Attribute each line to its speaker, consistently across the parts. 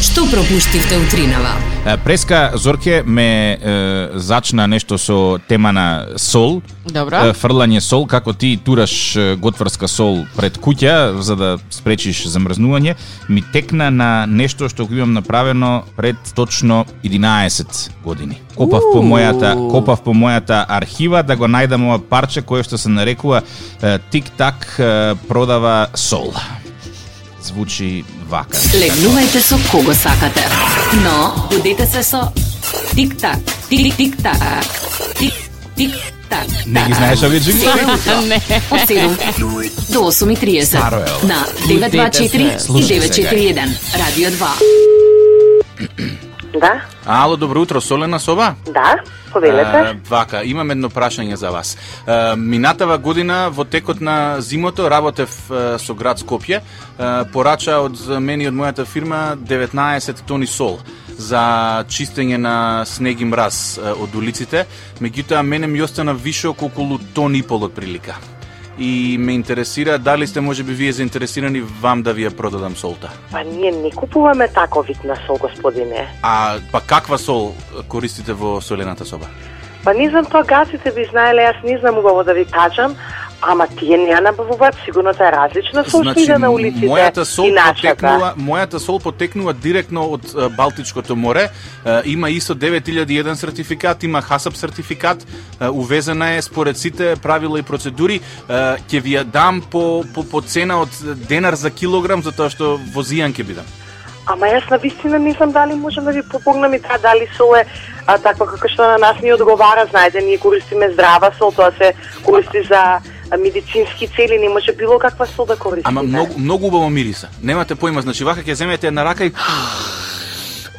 Speaker 1: што пропуштивте утринава.
Speaker 2: Е, Преска Зорке ме е, зачна нешто со тема на сол.
Speaker 3: Добро.
Speaker 2: Е, Фрлање сол, како ти тураш е, готварска сол пред куќа за да спречиш замрзнување, ми текна на нешто што го имам направено пред точно 11 години. Копав по
Speaker 3: Уу.
Speaker 2: мојата, копав по мојата архива да го најдам ова парче кое што се нарекува е, тик-так е, продава сол. Звучи вака.
Speaker 1: Легнувајте со кого сакате, но будете се со тик-так, тик-тик-так, тик-тик-так.
Speaker 2: Не ги знаеш овие
Speaker 1: па,
Speaker 2: джинглови?
Speaker 3: Не.
Speaker 1: Од 7 до 8.30
Speaker 2: Старо е ова.
Speaker 1: на 924 и
Speaker 2: Слушайте
Speaker 1: 941 Радио 2.
Speaker 4: Да,
Speaker 5: Ало, добро утро, Солена Соба.
Speaker 4: да, повелете.
Speaker 5: Е, Вака, имам едно прашање за вас. Е, Минатава година во текот на зимото работев е, со град Скопје, Е, порача од мене и од мојата фирма 19 тони сол за чистење на снег и мраз е, од улиците, меѓутоа мене ми остана више околу тон и пол од прилика. И ме интересира дали сте можеби вие заинтересирани вам да ви ја продадам солта.
Speaker 4: Па ние не купуваме таков вид на сол, господине.
Speaker 5: А па каква сол користите во солената соба?
Speaker 4: Па не знам тоа гаците би знаеле, јас не знам убаво да ви кажам, ама тие не ја набавуваат, сигурно тоа е различна сол што иде на улиците.
Speaker 5: Значи, мојата сол
Speaker 4: и нашата.
Speaker 5: потекнува, мојата сол потекнува директно од е, Балтичкото море. Е, Има исто 9001 сертификат, има HACCP сертификат, е, увезена е според сите правила и процедури. Е, Ќе ви ја дам по, по, по цена од денар за килограм, затоа што во Зијан ќе бидам.
Speaker 4: Ама јас на вистина не знам дали можам да ви помогнам и да, дали сол е а, таква како што на нас ни одговара, знаете, ние користиме здрава сол, тоа се користи за а, медицински цели, не може било каква сол да користиме.
Speaker 5: Ама многу многу убаво мириса. Немате појма, значи вака ќе земете една рака и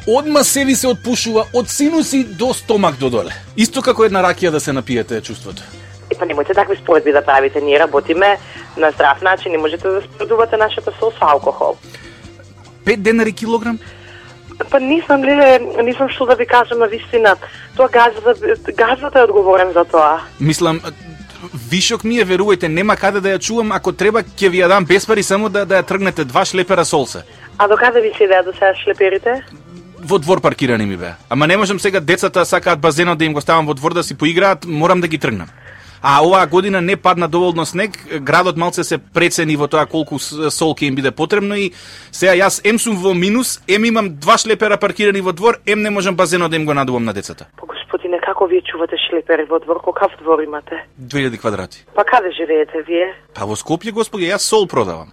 Speaker 5: одма се ви се отпушува од синуси до стомак до доле. Исто како една ракија да се напиете е чувството.
Speaker 4: Е, па немојте такви споредби да правите, ние работиме на здрав начин, не можете да споредувате нашата сол со алкохол.
Speaker 5: 5 денари килограм?
Speaker 4: Па не знам леле, не знам што да ви кажам на вистина. Тоа газата, газата е одговорен за тоа.
Speaker 5: Мислам, вишок ми е, верувајте, нема каде да ја чувам, ако треба ќе ви ја дам без пари само да да ја тргнете два шлепера солце.
Speaker 4: А до каде ви се идеа до сега шлеперите?
Speaker 5: Во двор паркирани ми беа. Ама не можам сега децата сакаат базенот да им го ставам во двор да си поиграат, морам да ги тргнам. А оваа година не падна доволно снег, градот малце се прецени во тоа колку с- сол ќе им биде потребно и сега јас ем сум во минус, ем имам два шлепера паркирани во двор, ем не можам базенот да им го надувам на децата.
Speaker 4: Па господине, како вие чувате шлепери во двор? Какав двор имате?
Speaker 5: 2000 квадрати.
Speaker 4: Па каде живеете вие?
Speaker 5: Па во Скопје, господи, јас сол продавам.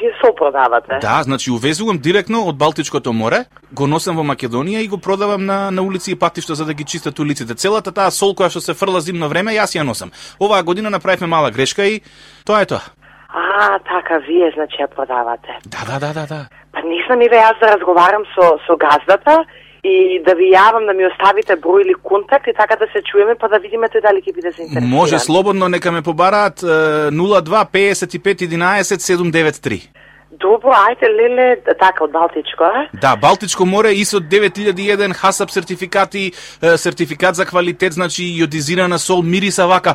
Speaker 4: Вие сол продавате?
Speaker 5: Да, значи увезувам директно од Балтичкото море, го носам во Македонија и го продавам на на улици и патишта за да ги чистат улиците. Целата таа сол која што се фрла зимно време, јас ја носам. Оваа година направивме мала грешка и тоа е тоа.
Speaker 4: А, така, вие значи ја продавате.
Speaker 5: Да, да, да, да, да.
Speaker 4: Па не знам и ве јас да разговарам со, со газдата и да ви јавам да ми оставите број или контакт и така да се чуеме па да видиме тој дали ќе биде заинтересиран.
Speaker 5: Може слободно нека ме побараат е, 02 55 11 793.
Speaker 4: Добро, ајде, леле, така, од Балтичко, а?
Speaker 5: Да, Балтичко море ИСО 9001 HACCP сертификати, е, сертификат за квалитет, значи јодизирана сол мириса вака.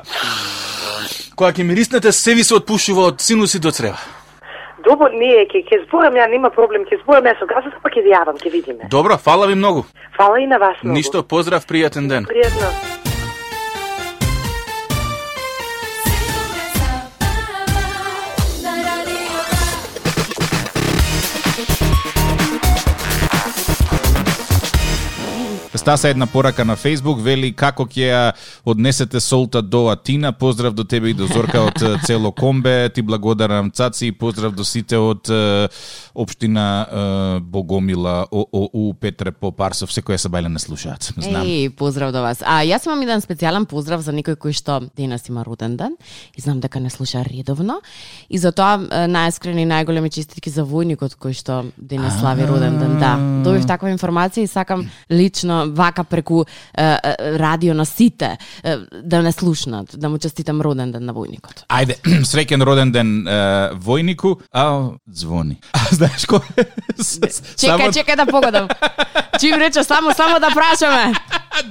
Speaker 5: Кога ќе мириснете, се ви се отпушува од синуси до црева.
Speaker 4: Добро, ние ќе ќе зборам, ја нема проблем, ќе зборам ја со газата, па ќе ви јавам, ќе видиме.
Speaker 5: Добро, фала ви многу.
Speaker 4: Фала и на вас многу.
Speaker 5: Ништо, поздрав, пријатен ден.
Speaker 4: Пријатно.
Speaker 2: Стаса една порака на Facebook, вели како ќе ја однесете солта до Атина. Поздрав до тебе и до Зорка од е, цело Комбе. Ти благодарам Цаци и поздрав до сите од е, општина е, Богомила, ООУ, Петре Попарсов, секоја се бајле не слушаат. Знам.
Speaker 3: Еј, поздрав до вас. А јас имам еден специјален поздрав за некој кој што денес има роден ден и знам дека не слуша редовно и затоа е, најискрени и најголеми честитки за војникот кој што денес слави роден ден. Да, добив таква информација и сакам лично вака преку е, е, радио на сите е, да не слушнат, да му честитам роден ден на војникот.
Speaker 2: Ајде, среќен роден ден е, војнику, а звони. А знаеш кој? е? С- с-
Speaker 3: Чекај,
Speaker 2: само-
Speaker 3: чекај да погодам. Чим рече само само да прашаме.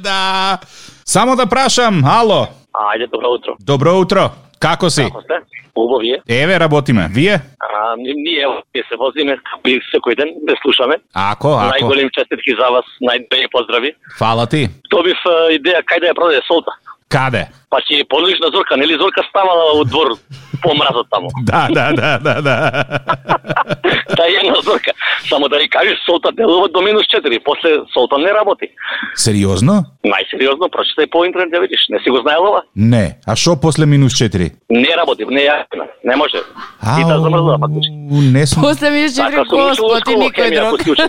Speaker 2: Да. Само да прашам, ало.
Speaker 6: Ајде, добро утро.
Speaker 2: Добро утро.
Speaker 5: Како си?
Speaker 6: Како сте? Убав е.
Speaker 5: Еве работиме. Вие?
Speaker 6: А, ни- ние ево, ние се возиме и секој ден, ве слушаме.
Speaker 5: Ако, Па, ако.
Speaker 6: Најголем честитки за вас, најбели поздрави.
Speaker 5: Фала ти.
Speaker 6: Тоа бив а, идеја кај да ја продаде солта.
Speaker 5: Каде?
Speaker 6: Па ќе ја понудиш на Зорка, нели Зорка ставала во двор по мразот таму.
Speaker 5: Да, да, да, да, да.
Speaker 6: Та е на Зорка. Само да ја кажеш солта делува до минус 4, после солта не работи.
Speaker 5: Сериозно?
Speaker 6: Најсериозно, прочитај по интернет да видиш, не си го знаел ова?
Speaker 5: Не. А шо после минус 4?
Speaker 6: Не работи, не ја, не може. И да замрзла фактички.
Speaker 5: не сум...
Speaker 3: После ми четири
Speaker 6: Така сум ушел во
Speaker 3: господ и
Speaker 6: школа,
Speaker 3: никој
Speaker 6: хемија,
Speaker 3: друг.
Speaker 6: ако си учил.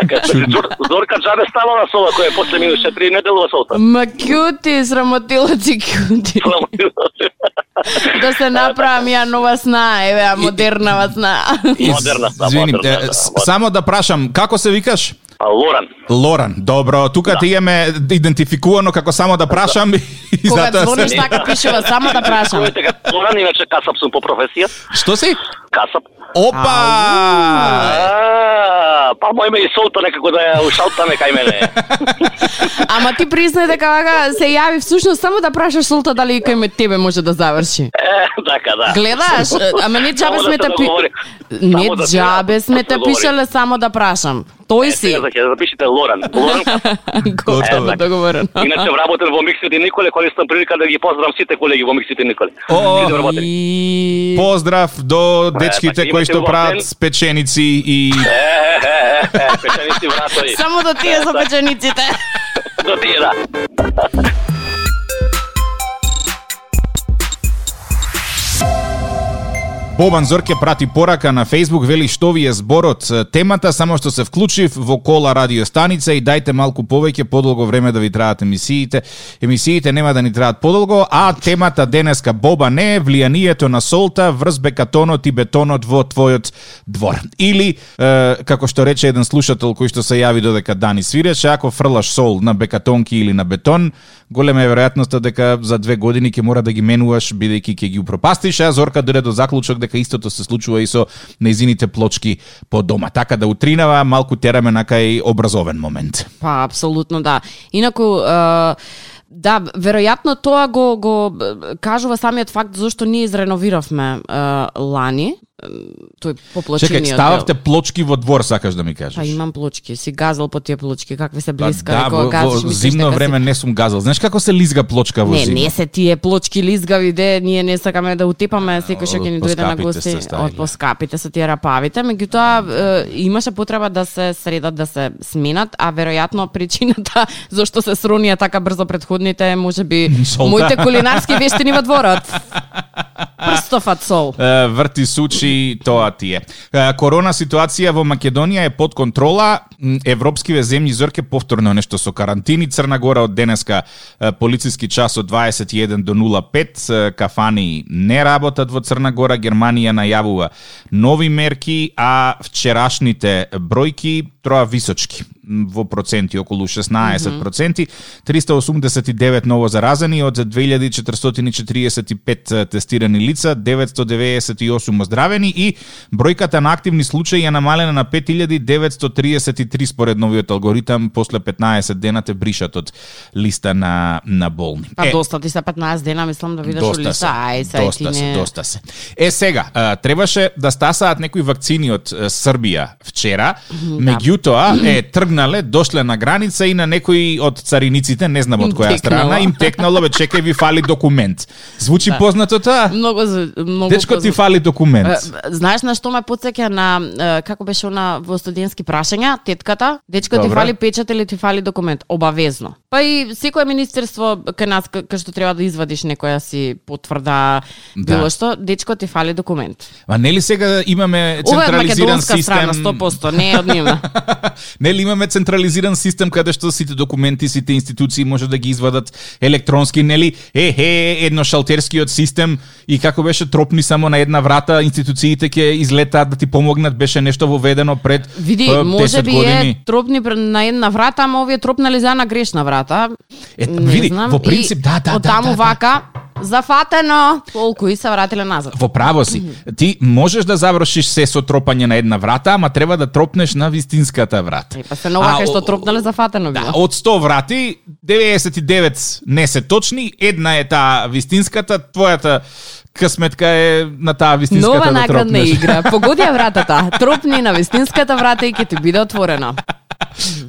Speaker 6: Така, Зор- Зорка джабе стала на сола, која е после минус 4 не делува солта.
Speaker 3: Ма кјути, срамотилаци кјути. Да се направам ја нова сна, еве, а модернава сна.
Speaker 6: Модерна сна,
Speaker 5: Извини,
Speaker 6: модерна,
Speaker 5: е,
Speaker 6: да,
Speaker 5: с-
Speaker 6: модерна.
Speaker 5: само да прашам, како се викаш?
Speaker 6: А Лоран,
Speaker 5: Лоран, добро, тука
Speaker 6: Да.
Speaker 5: ти имаме идентификувано како само да прашам и
Speaker 3: Кога
Speaker 5: затоа
Speaker 3: звониш
Speaker 5: се...
Speaker 3: така пишува, само да прашам.
Speaker 6: кој тека Лоран, иначе касап сум по професија,
Speaker 5: Што си?
Speaker 6: касап.
Speaker 5: Опа!
Speaker 6: А, Па мој ме и солта некако да ја ушалтаме кај мене.
Speaker 3: Ама ти признај дека вака се јави всушност само да прашаш солта дали и кај ме тебе може да заврши.
Speaker 6: Е, Така, да.
Speaker 3: Гледаш, ама не
Speaker 6: Само
Speaker 3: џабе
Speaker 6: да
Speaker 3: сме
Speaker 6: се
Speaker 3: те пи...
Speaker 6: договори.
Speaker 3: Не
Speaker 6: Само да се-
Speaker 3: џабе
Speaker 6: да
Speaker 3: сме
Speaker 6: се
Speaker 3: те
Speaker 6: договори.
Speaker 3: пишале само да прашам. Тој си.
Speaker 6: Сега ќе да запишете Лоран. Лоран,
Speaker 5: Готово.
Speaker 3: Готово, договорено.
Speaker 6: иначе вработен во Миксот и Николе, користам прилика да ги поздравам сите колеги во Миксот и Николе.
Speaker 5: О,
Speaker 6: Сите вработени.
Speaker 3: И-
Speaker 5: Поздрав до дечките
Speaker 6: значи,
Speaker 5: кои
Speaker 6: имате
Speaker 5: што
Speaker 6: убав
Speaker 5: прават
Speaker 6: ден.
Speaker 5: спеченици и
Speaker 6: Е, е, е, е, печеници вратови.
Speaker 3: Само до тие за печениците.
Speaker 6: До тие, да.
Speaker 5: Бобан Зорке прати порака на Facebook, вели што ви е зборот темата, само што се вклучив во кола радиостаница и дајте малку повеќе подолго време да ви траат емисиите. Емисиите нема да ни траат подолго, а темата денеска Боба не е влијанието на солта врз бекатонот и бетонот во твојот двор. Или, е, како што рече еден слушател кој што се јави додека Дани свиреше, ако фрлаш сол на бекатонки или на бетон, голема е веројатноста дека за две години ќе мора да ги менуваш бидејќи ќе ги упропастиш, а Зорка дојде до заклучок дека истото се случува и со неизините плочки по дома. Така да утринава малку тераме на кај образовен момент.
Speaker 3: Па, апсолутно да. Инаку, е, да, веројатно тоа го, го б- кажува самиот факт зашто ние изреновиравме е, лани, е, тој
Speaker 5: Чекај,
Speaker 3: поплачениот
Speaker 5: стававте
Speaker 3: дел.
Speaker 5: плочки во двор, сакаш да ми кажеш?
Speaker 3: Па имам плочки, си газел по тие плочки, какви се блискави,
Speaker 5: да, во,
Speaker 3: кога газиш,
Speaker 5: во
Speaker 3: мислиш
Speaker 5: зимно
Speaker 3: дека си-
Speaker 5: време не сум газал. Знаеш како се лизга плочка во
Speaker 3: Не,
Speaker 5: зимно?
Speaker 3: не се тие плочки лизгави, де ние не сакаме да утепаме секој што ќе ни
Speaker 5: од
Speaker 3: дојде на
Speaker 5: поскапите
Speaker 3: гости
Speaker 5: се ставиле.
Speaker 3: од поскапите со тие рапавите, меѓутоа е, имаше потреба да се средат, да се сменат, а веројатно причината зошто се сронија така брзо предходните е можеби
Speaker 5: Солта.
Speaker 3: моите кулинарски вештини во дворот. Прстофат сол.
Speaker 5: Е, врти сучи, тоа ти е. Е, Корона ситуација во Македонија е под контрола. М, Европскиве земји зорке повторно нешто со карантини. Црна Гора од денеска е, полициски час од 21 до 05. Е, Кафани не работат во Црна Гора. Германија најавува нови мерки, а вчерашните бројки троа височки М, во проценти околу 16 проценти 389 ново заразени од 2445 тестирани лица 998 оздравени и бројката на активни случаи е намалена на 5933 според новиот алгоритам после 15 дена те бришат од листа на на болни
Speaker 3: Па доста ти се 15 дена, мислам да видиш
Speaker 5: доста
Speaker 3: улица.
Speaker 5: се,
Speaker 3: Ај, сај ти
Speaker 5: доста се,
Speaker 3: не.
Speaker 5: доста се. Е сега, а, требаше да стасаат некои вакцини од е, Србија вчера,
Speaker 3: да.
Speaker 5: меѓутоа е тргнале, дошле на граница и на некои од цариниците, не знам од
Speaker 3: Им
Speaker 5: која
Speaker 3: текнало. Да.
Speaker 5: страна, им текнало бе, чекај ви фали документ. Звучи познато таа?
Speaker 3: Многу з- многу
Speaker 5: Дечко ти
Speaker 3: позна-
Speaker 5: фали документ.
Speaker 3: Е, Знаеш на што ме потсеќа на е, како беше она во студентски прашања, тетката, дечко ти
Speaker 5: Добра.
Speaker 3: фали печат или ти фали документ, обавезно. Па и секое министерство кај нас ка- кај што треба да извадиш некоја си
Speaker 5: Да.
Speaker 3: потврда било што, дечко ти фали документ.
Speaker 5: А нели сега имаме
Speaker 3: Ова е
Speaker 5: централизиран
Speaker 3: македонска
Speaker 5: систем?
Speaker 3: страна 100%, не е од нивна.
Speaker 5: Нели имаме централизиран систем каде што сите документи, сите институции може да ги извадат електронски, нели? Е, е, едно шалтерскиот систем и како беше тропни само на една врата, институциите ќе излетаат да ти помогнат, беше нешто воведено пред
Speaker 3: Види,
Speaker 5: е, 10
Speaker 3: може би е
Speaker 5: Па, години.
Speaker 3: тропни пр- на една врата, ама овие тропнали за една грешна врата.
Speaker 5: Е,
Speaker 3: не
Speaker 5: види,
Speaker 3: знам.
Speaker 5: во принцип,
Speaker 3: И
Speaker 5: да, да, да,
Speaker 3: Од таму
Speaker 5: да, да.
Speaker 3: вака, Зафатено, толку и се вратиле назад.
Speaker 5: Во право си. Ти можеш да завршиш се со тропање на една врата, ама треба да тропнеш на вистинската врата.
Speaker 3: Е, па се нова кај
Speaker 5: А,
Speaker 3: што
Speaker 5: о-
Speaker 3: тропнале зафатено
Speaker 5: Да,
Speaker 3: било.
Speaker 5: од 100 врати, 99 не се точни, една е таа вистинската, твојата късметка е на таа вистинската
Speaker 3: Нова
Speaker 5: да
Speaker 3: наградна
Speaker 5: тропнеш.
Speaker 3: игра. Погоди ја вратата. Тропни на вистинската врата и ќе ти биде отворена.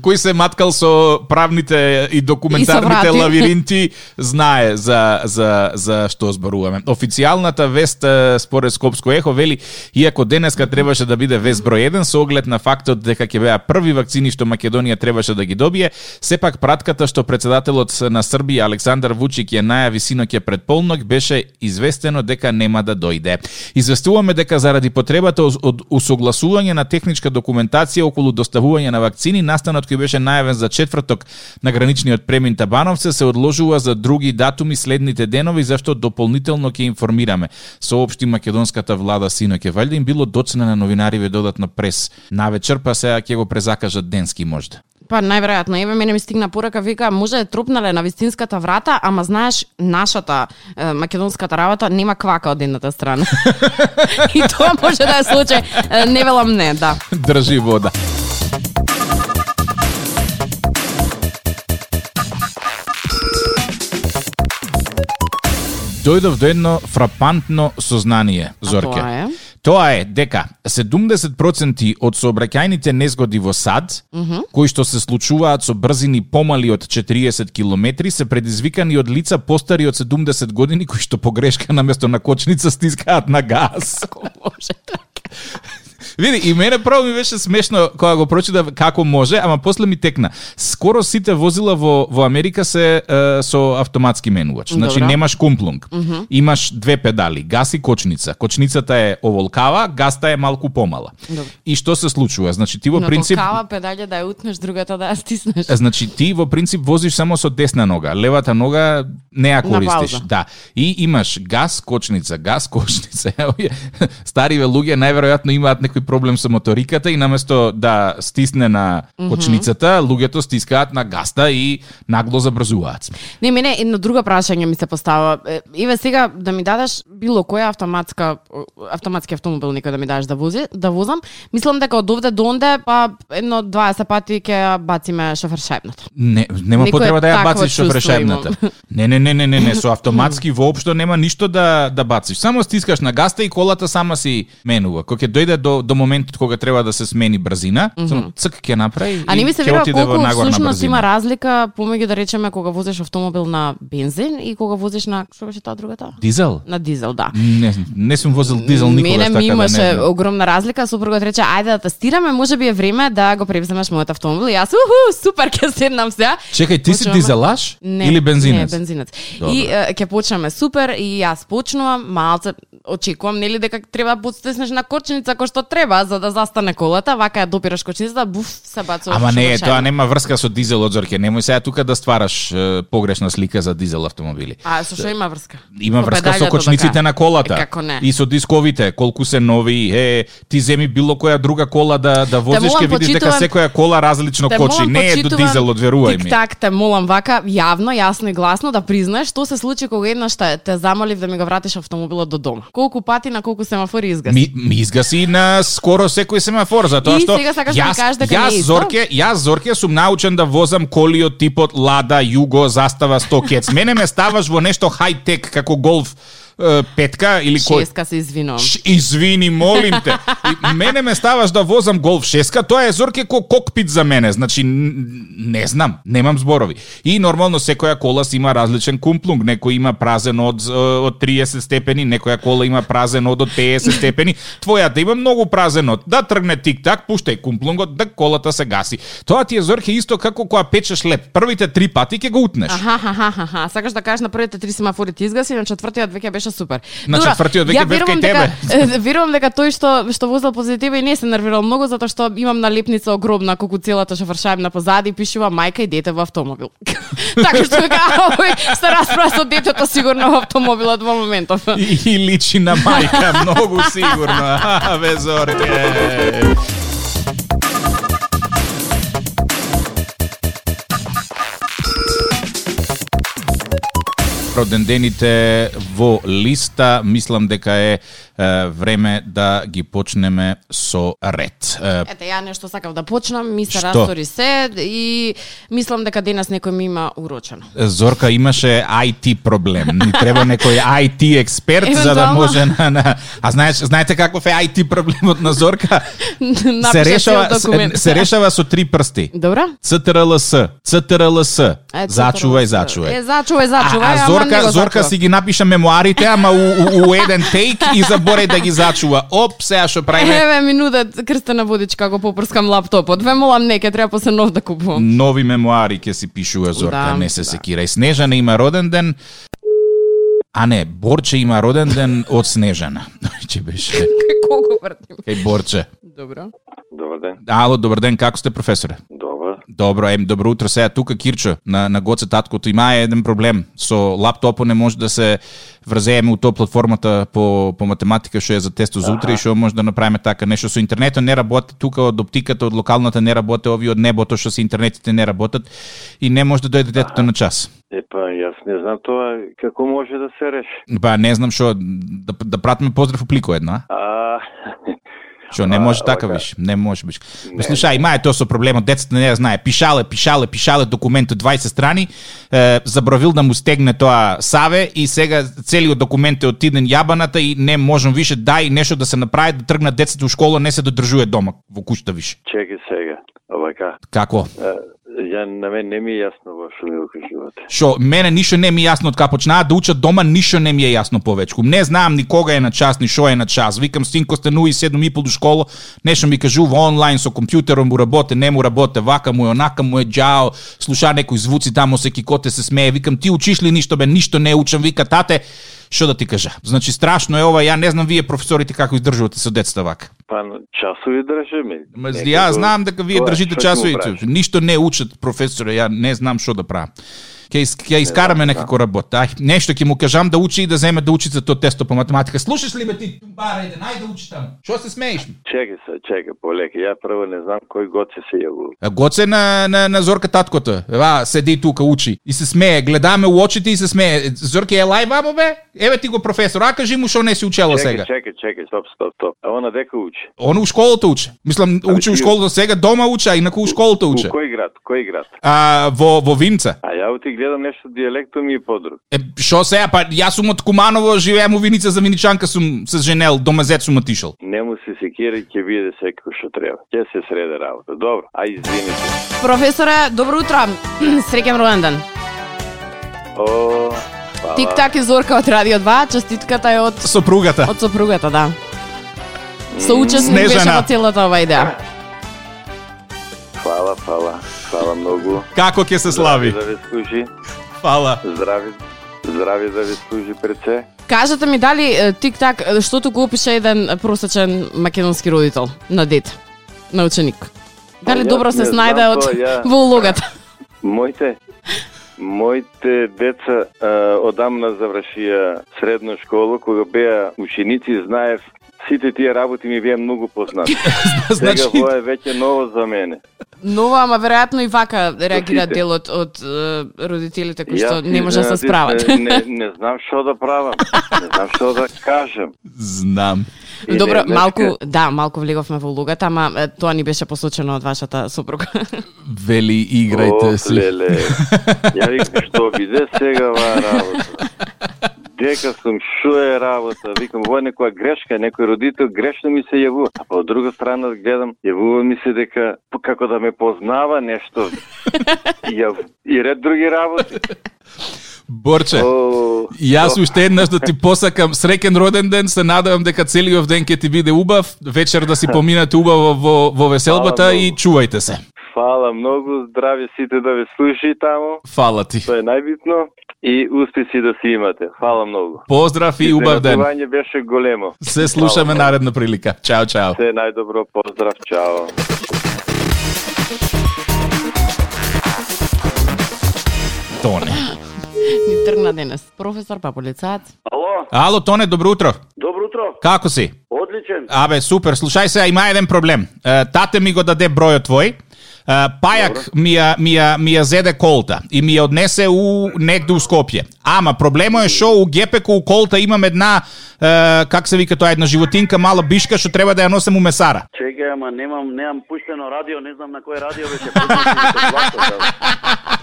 Speaker 5: Кој се маткал со правните и документарните
Speaker 3: И со врати.
Speaker 5: лавиринти знае за, за, за што зборуваме. Официјалната вест е, според Скопско ехо вели иако денеска требаше да биде вест број 1 со оглед на фактот дека ќе беа први вакцини што Македонија требаше да ги добие, сепак пратката што председателот на Србија Александар Вучик ја најави синоќе пред полнок беше известено дека нема да дојде. Известуваме дека заради потребата од- од усогласување на техничка документација околу доставување на вакцини, настанот кој беше најавен за четврток на граничниот премин Табановце се одложува за други датуми следните денови, зашто дополнително ќе информираме. Соопшти македонската влада синоќе валјда им било доцна на новинариве додатно прес. Навечер па сега ќе го презакажат денски можда.
Speaker 3: Па најверојатно, еве мене ми стигна порака, вика, може е трупнале на вистинската врата, ама знаеш, нашата е, македонската работа нема квака од едната страна. и тоа може да е случај, Е, не велам не, да.
Speaker 5: Држи вода. Дојдов до едно фрапантно сознание, Зорке.
Speaker 3: тоа е?
Speaker 5: Тоа е дека 70% од сообраќајните незгоди во САД, кои што се случуваат со брзини помали од 40 километри, се предизвикани од лица постари од 70 години кои што погрешка наместо на кочница стискаат на газ.
Speaker 3: Може така.
Speaker 5: Види, и мене прво ми беше смешно кога го прочитав како може, ама после ми текна. Скоро сите возила во во Америка се е, со автоматски менувач. Значи
Speaker 3: Добра.
Speaker 5: немаш кумплунг. Имаш две педали, газ и кочница. Кочницата е оволкава, газта е малку помала. И што се случува? Значи ти во
Speaker 3: Но
Speaker 5: принцип
Speaker 3: кава педалја да ја утнеш, другата да ја стиснеш.
Speaker 5: Значи ти во принцип возиш само со десна нога, левата нога не ја користиш.
Speaker 3: пауза.
Speaker 5: Да. И имаш газ, кочница, газ, кочница. Овие Стариве луѓе најверојатно имаат некој проблем со моториката и наместо да стисне на кочницата, луѓето стискаат на газта и нагло забрзуваат.
Speaker 3: Не, мене едно друго прашање ми се постава. Е, Иве сега да ми дадеш било која автоматска автоматски автомобил некој да ми дадеш да вози, да возам, мислам дека од овде до онде па едно 20 пати ќе ја бациме шофершајбната.
Speaker 5: Не, нема
Speaker 3: Некое
Speaker 5: потреба да ја
Speaker 3: такво
Speaker 5: бациш со
Speaker 3: чувство
Speaker 5: прешебната. Не, не, не, не, не, не, со автоматски воопшто нема ништо да да бациш. Само стискаш на газта и колата сама си менува. Кога ќе дојде до до моментот кога треба да се смени брзина, само цк ќе направи
Speaker 3: А не ми се
Speaker 5: ќе
Speaker 3: вера
Speaker 5: отиде во
Speaker 3: колку
Speaker 5: нагорна
Speaker 3: всушност
Speaker 5: брзина.
Speaker 3: има разлика помеѓу да речеме кога возиш автомобил на бензин и кога возиш на што беше таа другата?
Speaker 5: Дизел?
Speaker 3: На дизел, да.
Speaker 5: Не, не сум возил дизел никогаш
Speaker 3: Мене
Speaker 5: така
Speaker 3: ми имаше
Speaker 5: да не. знам.
Speaker 3: огромна разлика, супругот рече, ајде да тестираме, може би е време да го превземеш мојот автомобил. И јас, уху, супер, ќе седнам сега.
Speaker 5: Чекај, ти си
Speaker 3: Почнуваме.
Speaker 5: дизелаш или бензинец?
Speaker 3: Не, бензинец.
Speaker 5: Добро.
Speaker 3: И е, ќе почнеме супер и јас почнувам, малце очекувам нели дека треба да подстеснеш на кочница кој што треба за да застане колата, вака ја допираш кочницата, буф, се бацуваш.
Speaker 5: Ама
Speaker 3: во
Speaker 5: не,
Speaker 3: шофершајба.
Speaker 5: тоа нема врска со дизел од Зорке. Немој сега тука да ствараш е, погрешна слика за дизел автомобили.
Speaker 3: А со што има врска?
Speaker 5: Има
Speaker 3: Со
Speaker 5: врска со
Speaker 3: педаљето,
Speaker 5: кочниците
Speaker 3: така.
Speaker 5: на колата.
Speaker 3: Е, Како не?
Speaker 5: И со дисковите, колку се нови, е, ти земи било која друга кола да да возиш,
Speaker 3: молам,
Speaker 5: ќе видиш дека
Speaker 3: почитувам-
Speaker 5: секоја кола различно
Speaker 3: Те
Speaker 5: кочи,
Speaker 3: молам,
Speaker 5: не е до
Speaker 3: почитувам,
Speaker 5: дизелот, верувај ми.
Speaker 3: Тик-так, те молам вака, јавно, јасно и гласно да признаеш што се случи кога еднаш те, те замолив да ми го вратиш автомобилот до дома. Колку пати на колку семафори изгаси.
Speaker 5: Ми, ми изгаси на скоро секој семафор за тоа
Speaker 3: И
Speaker 5: што
Speaker 3: сега сакаш да ми кажеш дека не е
Speaker 5: јас
Speaker 3: исто?
Speaker 5: Зорке, јас Зорке сум научен да возам коли од типот Лада, Југо, Застава 100 кец. Мене ме ставаш во нешто хај-тек како Голф е, петка или кој
Speaker 3: Шеска се извинувам.
Speaker 5: Ш, извини, молим те. И мене ме ставаш да возам Голф 6-ка, тоа е зорке ко кокпит за мене. Значи, н- не знам, немам зборови. И нормално секоја кола си има различен кумплунг. Некој има празен од, е, од 30 степени, некоја кола има празен од од 50 степени. Твојата има многу празен од. Да тргне тик-так, пуштај кумплунгот, да колата се гаси. Тоа ти е зорке исто како кога печеш леп. Првите три пати ќе го утнеш.
Speaker 3: Аха, аха, аха, аха. Сакаш да кажеш на првите три семафори ти изгаси, на четвртиот веќе беше супер.
Speaker 5: На
Speaker 3: Добро,
Speaker 5: четвртиот веќе
Speaker 3: ја
Speaker 5: бев
Speaker 3: верувам
Speaker 5: кај тебе.
Speaker 3: Дека, е, верувам дека тој што што возел позади тебе и не се нервирал многу затоа што имам налепница огромна колку целата шофершајм на позади и пишува мајка и дете во автомобил. така што вика, а, овој се расправа со детето сигурно во автомобилот во моментов.
Speaker 5: И, и личи на мајка, многу сигурно. Абе, Зорке. оправдендените во листа, мислам дека е, е време да ги почнеме со ред. Е,
Speaker 3: Ете, ја нешто сакав да почнам, ми се
Speaker 5: Што?
Speaker 3: растори се и мислам дека денес некој ми има урочено.
Speaker 5: Зорка имаше IT проблем. Ни треба некој IT експерт за да
Speaker 3: Евентуално.
Speaker 5: може на, на... А знаеш, знаете каков е IT проблемот на Зорка?
Speaker 3: Напиша
Speaker 5: се
Speaker 3: цел
Speaker 5: решава се,
Speaker 3: документ.
Speaker 5: се решава со три прсти.
Speaker 3: Добра?
Speaker 5: ЦТРЛС, ЦТРЛС.
Speaker 3: Е,
Speaker 5: Зачувај,
Speaker 3: цтрл- Е,
Speaker 5: зачувај.
Speaker 3: зачувај, зачувај,
Speaker 5: А, а
Speaker 3: ама не
Speaker 5: Зорка,
Speaker 3: го
Speaker 5: Зорка
Speaker 3: зачував.
Speaker 5: си ги напиша мемуарите, ама у, у, у еден тейк и забори да ги зачува. Оп, сега што правиме
Speaker 3: Еве ми нудат крстена водичка, го попрскам лаптопот. Ве молам неке, треба после нов да купувам.
Speaker 5: нови мемуари ќе си пишува Зорка,
Speaker 3: Да,
Speaker 5: не се
Speaker 3: да.
Speaker 5: секирај. Снежана има роден ден. А не, Борче има роден ден од Снежана. Ќе беше.
Speaker 3: Колку вртим.
Speaker 5: Кај Борче.
Speaker 3: Добро.
Speaker 7: Добар ден.
Speaker 5: Ало, добар ден, како сте професоре?
Speaker 7: Добар.
Speaker 5: Добро, ем, добро утро. Сега тука Кирчо на на Гоце таткото има еден проблем. Со лаптопо не може да се врзееме у тоа платформата по по математика што е за тесто за утре и што може да направиме така нешто со интернетот не работи тука од оптиката од локалната не работи ови од небото што се интернетите не работат и не може да дојде детето на час.
Speaker 7: Епа, јас не знам тоа како може да се реши.
Speaker 5: Па не знам што да, да пратиме поздрав у плико едно, а?
Speaker 7: А,
Speaker 5: Што не може
Speaker 7: А,
Speaker 5: така
Speaker 7: вака.
Speaker 5: виш, не може биш. Ме слушај, има е тоа со проблемот, децата не ја знае. Пишале, пишале, пишале документ од 20 страни, е, забравил да му стегне тоа саве и сега целиот документ е отиден јабаната и не можам више да и нешто да се направи, да тргнат децата у школа, не се додржува дома во куќата више.
Speaker 7: чеки сега. Овака.
Speaker 5: Како?
Speaker 7: А, Ја на мен не ми е јасно во што ми го кажувате.
Speaker 5: Што мене ништо не ми е јасно од кога почнаа да учат дома, ништо не ми е јасно повеќе. Не знам ни кога е на час, ни што е на час. Викам синко стануи 7:30 до школа, нешто ми кажува онлайн со компјутером му работе, не му работе, вака му е, онака му е, джао, слуша некои звуци тамо се кикоте се смее. Викам ти учиш ли ништо бе, ништо не учам, вика тате. Што да ти кажа? Значи страшно е ова, ја не знам вие професорите како издржувате со децата вака.
Speaker 7: Па часови држиме.
Speaker 5: Ма, ја знам дека вие
Speaker 7: Тоа е,
Speaker 5: држите
Speaker 7: што ќе му
Speaker 5: часовите.
Speaker 7: правиш?
Speaker 5: Ништо не учат професоре, ја не знам што да правам. Ке, ис- ке
Speaker 7: да.
Speaker 5: искараме некако работа. Ај, нешто ќе му кажам да учи и да земе да учи за тоа тесто по математика. Слушаш ли ме ти, тумбара еден, ајде да учи таму. Што се смееш?
Speaker 7: Чеки се, чеки полеки. Ја прво не знам кој год се се јавува.
Speaker 5: А, Гоце на, на, на Зорка таткото. Ева, седи тука, учи. И се смее. Гледаме у очите и се смее. Зорке, елај вамо бе. Еве ти го професор. А кажи му што не си учела
Speaker 7: Чеки,
Speaker 5: сега.
Speaker 7: чеки, чеки, стоп, стоп, стоп. А она дека учи?
Speaker 5: Он у школата учи. Мислам, учи у
Speaker 7: ти-
Speaker 5: школата сега, дома учи, а инаку у школата учи.
Speaker 7: У кој град? Кој град?
Speaker 5: А, во, во Винца.
Speaker 7: А ја ти гледам нешто дијалектот ми е подруг.
Speaker 5: Е, шо сега, па јас сум од Куманово, живеам у Виница, за Виничанка сум се женел, домазет сум отишел.
Speaker 7: Не му се секирај, ќе биде секој што треба. Ќе се среде работа. Добро, ај извините.
Speaker 3: Професоре, добро утро. Среќен роден ден.
Speaker 7: О, па,
Speaker 3: Тик-так и Зорка од Радио 2, честитката е од
Speaker 5: Сопругата.
Speaker 3: од сопругата, да. Соучесник беше
Speaker 5: Снежана.
Speaker 3: во целата ова идеја.
Speaker 7: фала, фала, фала многу.
Speaker 5: Како ќе се слави?
Speaker 7: Да ви служи,
Speaker 5: Фала.
Speaker 7: здрави, здрави да ви служи перце.
Speaker 3: Кажете ми дали е, тик-так е, што туку опиша еден е, просечен македонски родител на дете, на ученик. Дали
Speaker 7: Па,
Speaker 3: добро
Speaker 7: јас
Speaker 3: се
Speaker 7: не
Speaker 3: снајде
Speaker 7: знам
Speaker 3: од
Speaker 7: тоа, ја-
Speaker 3: во улогата?
Speaker 7: Моите, моите деца а, одамна завршија средна школа, кога беа ученици, знаев сите тие работи ми беа многу познати.
Speaker 5: Значи,
Speaker 7: Сега ова е веќе ново за мене.
Speaker 3: Нова, ама веројатно и вака реагира
Speaker 7: Сите.
Speaker 3: делот од е, родителите кои
Speaker 7: Јас
Speaker 3: што не
Speaker 7: си
Speaker 3: може да се
Speaker 7: изненадив,
Speaker 3: справат.
Speaker 7: Не, не, не знам што да правам. Не знам што да кажам. значи,
Speaker 5: знам.
Speaker 7: И не
Speaker 3: Добро,
Speaker 7: знам
Speaker 3: малку, да, малку влеговме во улогата, ама е, тоа ни беше посочено од вашата сопруга.
Speaker 5: Вели
Speaker 7: Ох, леле. Ја викам, што биде сега ова работа? Дека сум, шо е работа? Викам, ова е некоја грешка, некој родител грешно ми се јавува. А па од друга страна гледам, јавува ми се дека п- како да ме познава нешто. И, јав... и ред други работи.
Speaker 5: Борче.
Speaker 7: О,
Speaker 5: Јас уште еднаш да ти посакам среќен роден ден, се надевам дека целиот ден ќе ти биде убав, вечер да си поминате убаво во, во веселбата
Speaker 7: Фала
Speaker 5: и
Speaker 7: многу.
Speaker 5: чувајте се.
Speaker 7: фала многу, здрави сите да ве слуши таму.
Speaker 5: Фала ти.
Speaker 7: Тоа е најбитно. И успеси да си имате. Фала многу.
Speaker 5: Поздрав и убав ден.
Speaker 7: Изненадување беше големо.
Speaker 5: Се слушаме
Speaker 7: Фала.
Speaker 5: наредна прилика. Чао, чао.
Speaker 7: Се најдобро, поздрав, чао.
Speaker 5: Тоне.
Speaker 3: ни тргна денес. Професор па полицајец.
Speaker 8: Ало,
Speaker 5: Ало, Тоне, добро утро.
Speaker 8: добро утро.
Speaker 5: Како си?
Speaker 8: Одличен.
Speaker 5: Абе, супер, слушај се, има еден проблем. Е, Тате ми го даде бројот твој, А, пајак ми ја, ми, ја, ми ја зеде колта и ми ја однесе у негде у Скопје. Ама проблемот е што у ГПК у колта имам една е, как се вика тоа една животинка мала бишка што треба да ја носам у месара.
Speaker 7: Чекај, ама немам, немам пуштено радио, не знам на кое радио беше пуштено.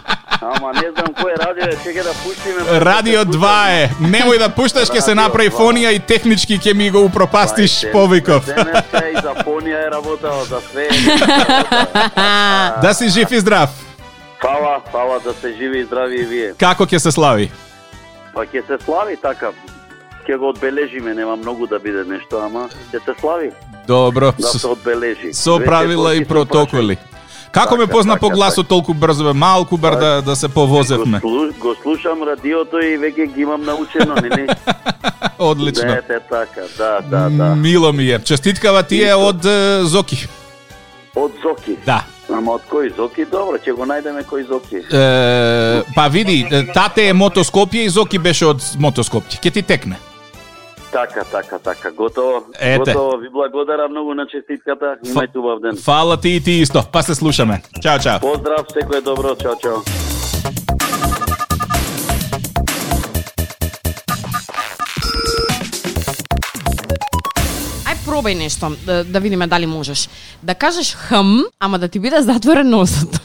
Speaker 7: Ама не знам кое радио е, чекај да пуштиме.
Speaker 5: Радио 2 е. Немој да пушташ ќе се направи фонија и технички ќе ми го упропастиш повиков.
Speaker 7: Денеска и за фонија е работала, за све.
Speaker 5: Да си жив и здрав.
Speaker 7: Фала, фала да се живи и здрави и вие.
Speaker 5: Како ќе се слави?
Speaker 7: Па ќе се слави така. Ќе го одбележиме, нема многу да биде нешто, ама ќе се слави
Speaker 5: Добро.
Speaker 7: да се одбележи.
Speaker 5: Со правила и протоколи. Како ме
Speaker 7: Така,
Speaker 5: позна
Speaker 7: така,
Speaker 5: по гласот толку брзо бе, малку бар да, да се
Speaker 7: Го,
Speaker 5: повозевме.
Speaker 7: слу- го слушам радиото и веќе ги имам научено, нели? Да,
Speaker 5: Одлично.
Speaker 7: е така, да, да, да.
Speaker 5: Мило ми е. Честиткава ти е од е, Зоки.
Speaker 7: Од Зоки.
Speaker 5: Да.
Speaker 7: Ама од кој Зоки? Добро, ќе го најдеме кој Зоки.
Speaker 5: Е, па види, е, тате е мотоскопје и Зоки беше од мотоскопје. Ке ти текне.
Speaker 7: Така, така, така, готово.
Speaker 5: Ете.
Speaker 7: Готово, ви благодарам многу на честитката. Имајте убав ден.
Speaker 5: Фала ти и ти исто. Па се слушаме. Чао, чао.
Speaker 7: Поздрав, секој добро, чао, чао.
Speaker 3: Ај пробај нешто, да, да видиме дали можеш. Да кажеш хм, ама да ти биде затворен носот.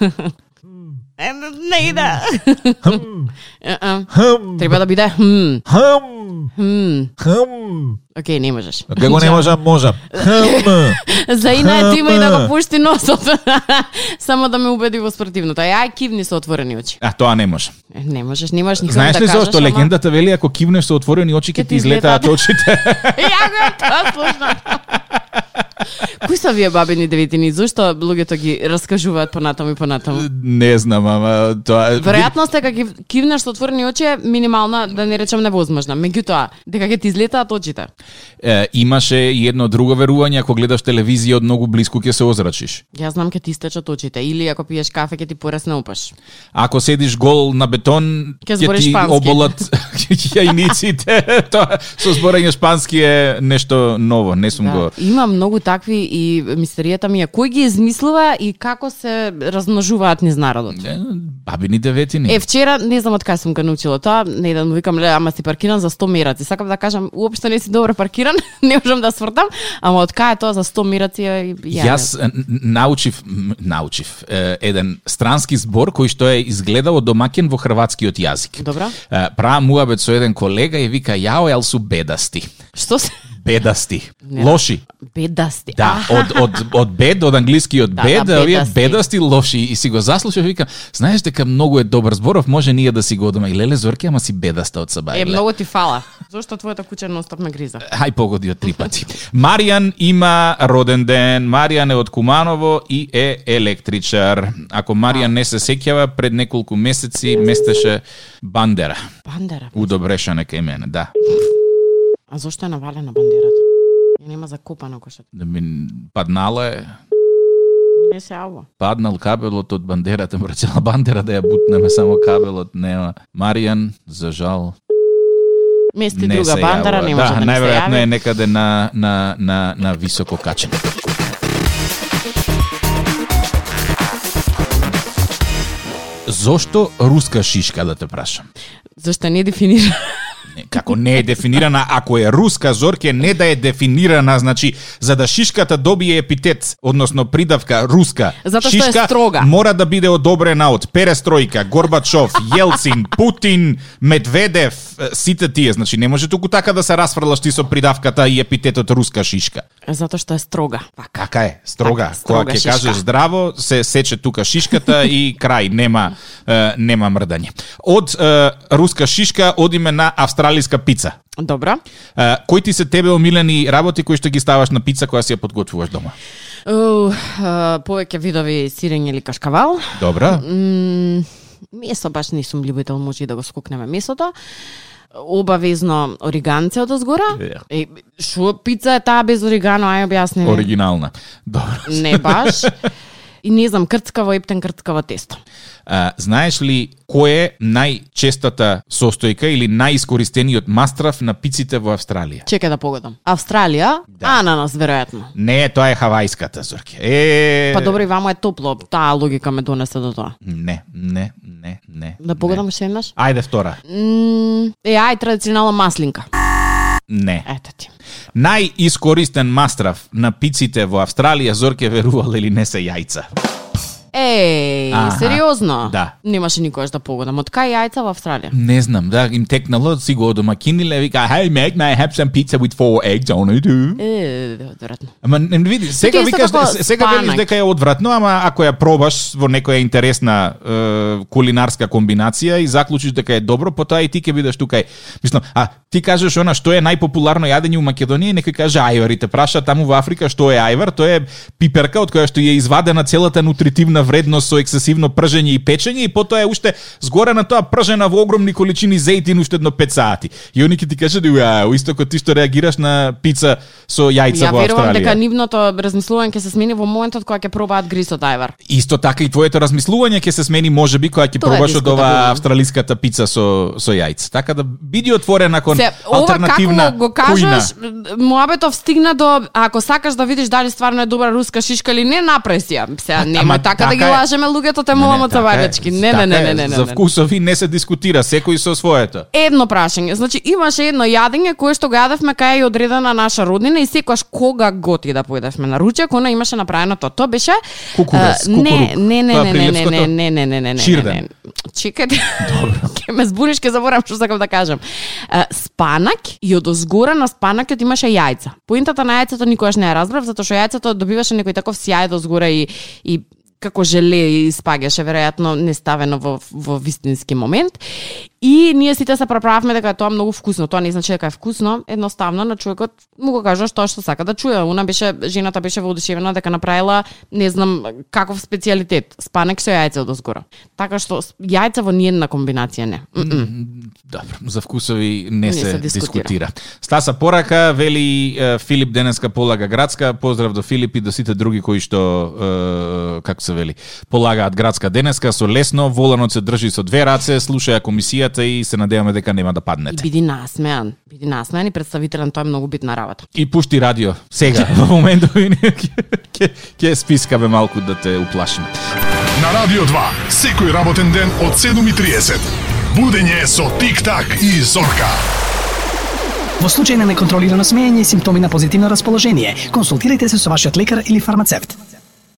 Speaker 3: Е, Не иде. Е, е. Треба да биде хм.
Speaker 8: Хм,
Speaker 3: Хм.
Speaker 8: хм.
Speaker 3: Океј, не можеш.
Speaker 8: Како не можам, можам. Хм.
Speaker 3: За ина е ти има и
Speaker 5: па.
Speaker 3: да го пушти носот. Само да ме убеди во спротивното. Е, Ај, кивни со отворени очи.
Speaker 5: А, тоа не може.
Speaker 3: Е, Не можеш, не можеш никога
Speaker 5: Знаеш
Speaker 3: да
Speaker 5: ли
Speaker 3: кажеш.
Speaker 5: зошто
Speaker 3: ама-
Speaker 5: легендата вели ако кивнеш со отворени очи
Speaker 3: Ке
Speaker 5: ќе
Speaker 3: ти
Speaker 5: ти излетаат
Speaker 3: излетаат.
Speaker 5: очите.
Speaker 3: Ја го е тоа слушна. Кои са вие бабени девитини? Зошто луѓето ги раскажуваат понатаму и понатаму?
Speaker 5: Не знам, ама тоа
Speaker 3: Веројатноста дека ги кивнеш со отворени очи е минимална, да не речам невозможна. Меѓутоа, дека ќе ти излетаат очите.
Speaker 5: е, имаше и едно друго верување ако гледаш телевизија од многу блиску ќе се озрачиш.
Speaker 3: Ја знам ќе ти истечат очите или ако пиеш кафе ќе ти порасне опаш.
Speaker 5: Ако седиш гол на бетон
Speaker 3: Ќе
Speaker 5: ќе
Speaker 3: збориш
Speaker 5: ти
Speaker 3: шпански.
Speaker 5: оболат јајниците. тоа со зборење шпански е нешто ново, не сум го.
Speaker 3: Да. Има многу такви и мистеријата ми е кој ги измислува и како се размножуваат низ народот.
Speaker 5: Е, Бабини деветини.
Speaker 3: Е, вчера, не знам од кај сум га научила тоа, не да му викам, ле, ама си паркиран за 100 мераци. Сакам да кажам, уопште не си добро паркиран, не можам да свртам, ама од кај е тоа за 100 мераци ја... ја-
Speaker 5: Јас е, н- научив, м, научив е, еден странски збор кој што е изгледало домакен во хрватскиот јазик.
Speaker 3: Добро.
Speaker 5: Е, Правам муабет со еден колега и вика, јао, ел су бедасти.
Speaker 3: Што се...
Speaker 5: Бедасти.
Speaker 3: Не.
Speaker 5: Лоши.
Speaker 3: Бедасти.
Speaker 5: Да, од, од, од бед, од англискиот
Speaker 3: Да,
Speaker 5: бед,
Speaker 3: да,
Speaker 5: овие
Speaker 3: бедасти.
Speaker 5: бедасти лоши. И си го заслушав и викам, знаеш дека многу е добар зборов, може ние да си го одаме. И леле, Зорке, ама си бедаста од саба.
Speaker 3: Е,
Speaker 5: леле.
Speaker 3: многу ти фала. Зошто твојата куќа нонстоп ме гриза?
Speaker 5: Ај погоди од три пати. Маријан има роден ден. Маријан е од Куманово и е електричар. Ако Маријан не се сеќава, пред неколку месеци местеше бандера.
Speaker 3: Бандера.
Speaker 5: У Добрешане кај мене, да.
Speaker 3: А зошто е навалена бандерата? Ја нема закопано кошот.
Speaker 5: Да ми Паднала е,
Speaker 3: Не се ало.
Speaker 5: паднал кабелот од бандерата, мрачала бандера да ја бутнеме, само кабелот нема. Маријан, за жал, не
Speaker 3: Мести друга
Speaker 5: се
Speaker 3: бандера,
Speaker 5: јавува.
Speaker 3: не може да, не се
Speaker 5: најверојатно
Speaker 3: јави.
Speaker 5: е некаде на, на, на, на високо качење. Зошто руска шишка да те прашам?
Speaker 3: Зошто не дефинира?
Speaker 5: Не, Како не е дефинирана, ако е руска зорке, не да е дефинирана, значи за да шишката добие епитет, односно придавка руска,
Speaker 3: Затоа што е
Speaker 5: шишка
Speaker 3: строга.
Speaker 5: мора да биде одобрена од Перестројка, Горбачов, Јелцин, Путин, Медведев, е, сите тие, значи не може туку така да се расфрлаш ти со придавката и епитетот руска шишка.
Speaker 3: Затоа што е строга. Пак.
Speaker 5: Така е, строга.
Speaker 3: Така, строга
Speaker 5: Кога ќе
Speaker 3: шишка.
Speaker 5: кажеш здраво, се сече тука шишката и крај, нема е, нема мрдање. Од е, руска шишка одиме на австралиска пица.
Speaker 3: Добро.
Speaker 5: А, кои ти се тебе омилени работи кои што ги ставаш на пица која си ја подготвуваш дома?
Speaker 3: Uh, повеќе видови сирење или кашкавал.
Speaker 5: Добра.
Speaker 3: М, месо баш не сум љубител, може и да го скокнеме месото. Обавезно ориганце од озгора.
Speaker 5: Е.
Speaker 3: Е, шо пица е таа без оригано, ај објасни ми.
Speaker 5: Оригинална. Добра.
Speaker 3: Не баш. и не знам, крцкаво ептен крцкаво тесто.
Speaker 5: А, знаеш ли кој е најчестата состојка или најискористениот мастрав на пиците во Австралија?
Speaker 3: Чека да погодам. Австралија, да. ананас веројатно.
Speaker 5: Не, тоа е хавајската, Зорке. Е...
Speaker 3: Па добро и вамо е топло, таа логика ме донесе до тоа.
Speaker 5: Не, не, не, не.
Speaker 3: Да погодам уште еднаш.
Speaker 5: Ајде втора.
Speaker 3: М, Е, ај, традиционална маслинка.
Speaker 5: Не.
Speaker 3: Ете ти.
Speaker 5: Најискористен мастрав на пиците во Австралија, Зорке верувал или не се јајца.
Speaker 3: Еј,
Speaker 5: Аха,
Speaker 3: сериозно?
Speaker 5: да.
Speaker 3: Немаше никогаш да погодам. Од кај јајца во Австралија?
Speaker 5: Не знам, да, им текнало, си го одомакиниле, вика, hey Meg, may I have some pizza with four eggs on it?
Speaker 3: E- Е, одвратно.
Speaker 5: Ама не не види, сега
Speaker 3: Ти исто
Speaker 5: викаш,
Speaker 3: како
Speaker 5: се- сега велиш
Speaker 3: спанак.
Speaker 5: дека е одвратно, ама ако ја пробаш во некоја интересна е, кулинарска комбинација и заклучиш дека е добро, потоа и ти ќе бидеш тука. е. Мислам, а ти кажеш она што е најпопуларно јадење у Македонија, и некој каже ајвар и те праша таму во Африка што е ајвар, тоа е пиперка од која што е извадена целата нутритивна вредност со ексцесивно пржење и печење и потоа е уште згоре на тоа пржена во огромни количини зејтин уште едно 5 сати. И они ќе ти кажат, уа, исто како ти што реагираш на пица со јајца
Speaker 3: Ја
Speaker 5: во
Speaker 3: верувам
Speaker 5: Австралија.
Speaker 3: дека нивното размислување ќе се смени во моментот кога ќе пробаат гриз од ајвар.
Speaker 5: Исто така и твоето размислување ќе се смени можеби кога ќе
Speaker 3: Тоа е
Speaker 5: пробаш од оваа
Speaker 3: дискутабилно.
Speaker 5: австралиската пица со со јајца. Така да биди отворен након
Speaker 3: Се, ова како
Speaker 5: алтернативна
Speaker 3: го кажеш, муабетов стигна до ако сакаш да видиш дали стварно е добра руска шишка или не, направи си ја. Сега нема
Speaker 5: ама
Speaker 3: така, да
Speaker 5: така
Speaker 3: ги
Speaker 5: е. така
Speaker 3: лажеме луѓето те молам од савајбачки. Не, не, не, не, не, не.
Speaker 5: За
Speaker 3: не.
Speaker 5: вкусови не се дискутира, секој со своето.
Speaker 3: Едно прашање. Значи имаше едно јадење кое што го јадевме кај е и одредена наша роднина и секогаш кога готи да појдевме на ручек, она имаше направено тоа. Тоа беше
Speaker 5: Кукурез,
Speaker 3: а, не,
Speaker 5: кукурук.
Speaker 3: не, не,
Speaker 5: Тоа
Speaker 3: не, не, не,
Speaker 5: прилепското?
Speaker 3: не, не, не, не, не, не.
Speaker 5: Ширден.
Speaker 3: не. Чекајте. Ќе ме збуниш, ќе заборам што сакам да кажам. А, спанак и од озгора на спанакот имаше јајца. Поентата на јајцето никогаш не ја разбрав затоа што јајцето добиваше некој таков сјај од озгора и и како желе и спагеше веројатно неставено во во вистински момент. И ние сите се преправавме дека е тоа многу вкусно. Тоа не значи дека е вкусно, едноставно на човекот му го кажаш тоа што сака да чуе. Уна беше жената беше воодушевена дека направила не знам каков специјалитет, спанек со јајце од озгора. Така што с- јајца во ниедна комбинација не. М, м.
Speaker 5: Добро, за вкусови не, не се,
Speaker 3: се
Speaker 5: дискутира.
Speaker 3: дискутира.
Speaker 5: дискутира. Стаса порака, вели е, Филип денеска полага градска, поздрав до Филип и до сите други кои што, е, како се вели, полагаат градска денеска со лесно, воланот се држи со две раце, слушаја комисијата и се надеваме дека нема да
Speaker 3: И
Speaker 5: паднете.
Speaker 3: биди насмеан, биди насмеан и представителен, тоа е многу битна работа.
Speaker 5: И пушти радио, сега, во моментот и ние ќе- ќе- ќе спискаме малку да те уплашиме.
Speaker 9: На Радио 2, секој работен ден од 7.30. Будење со Тик-так и Зорка.
Speaker 10: Во случај на неконтролирано смеење и симптоми на позитивно расположение, консултирайте се со вашиот лекар или фармацевт.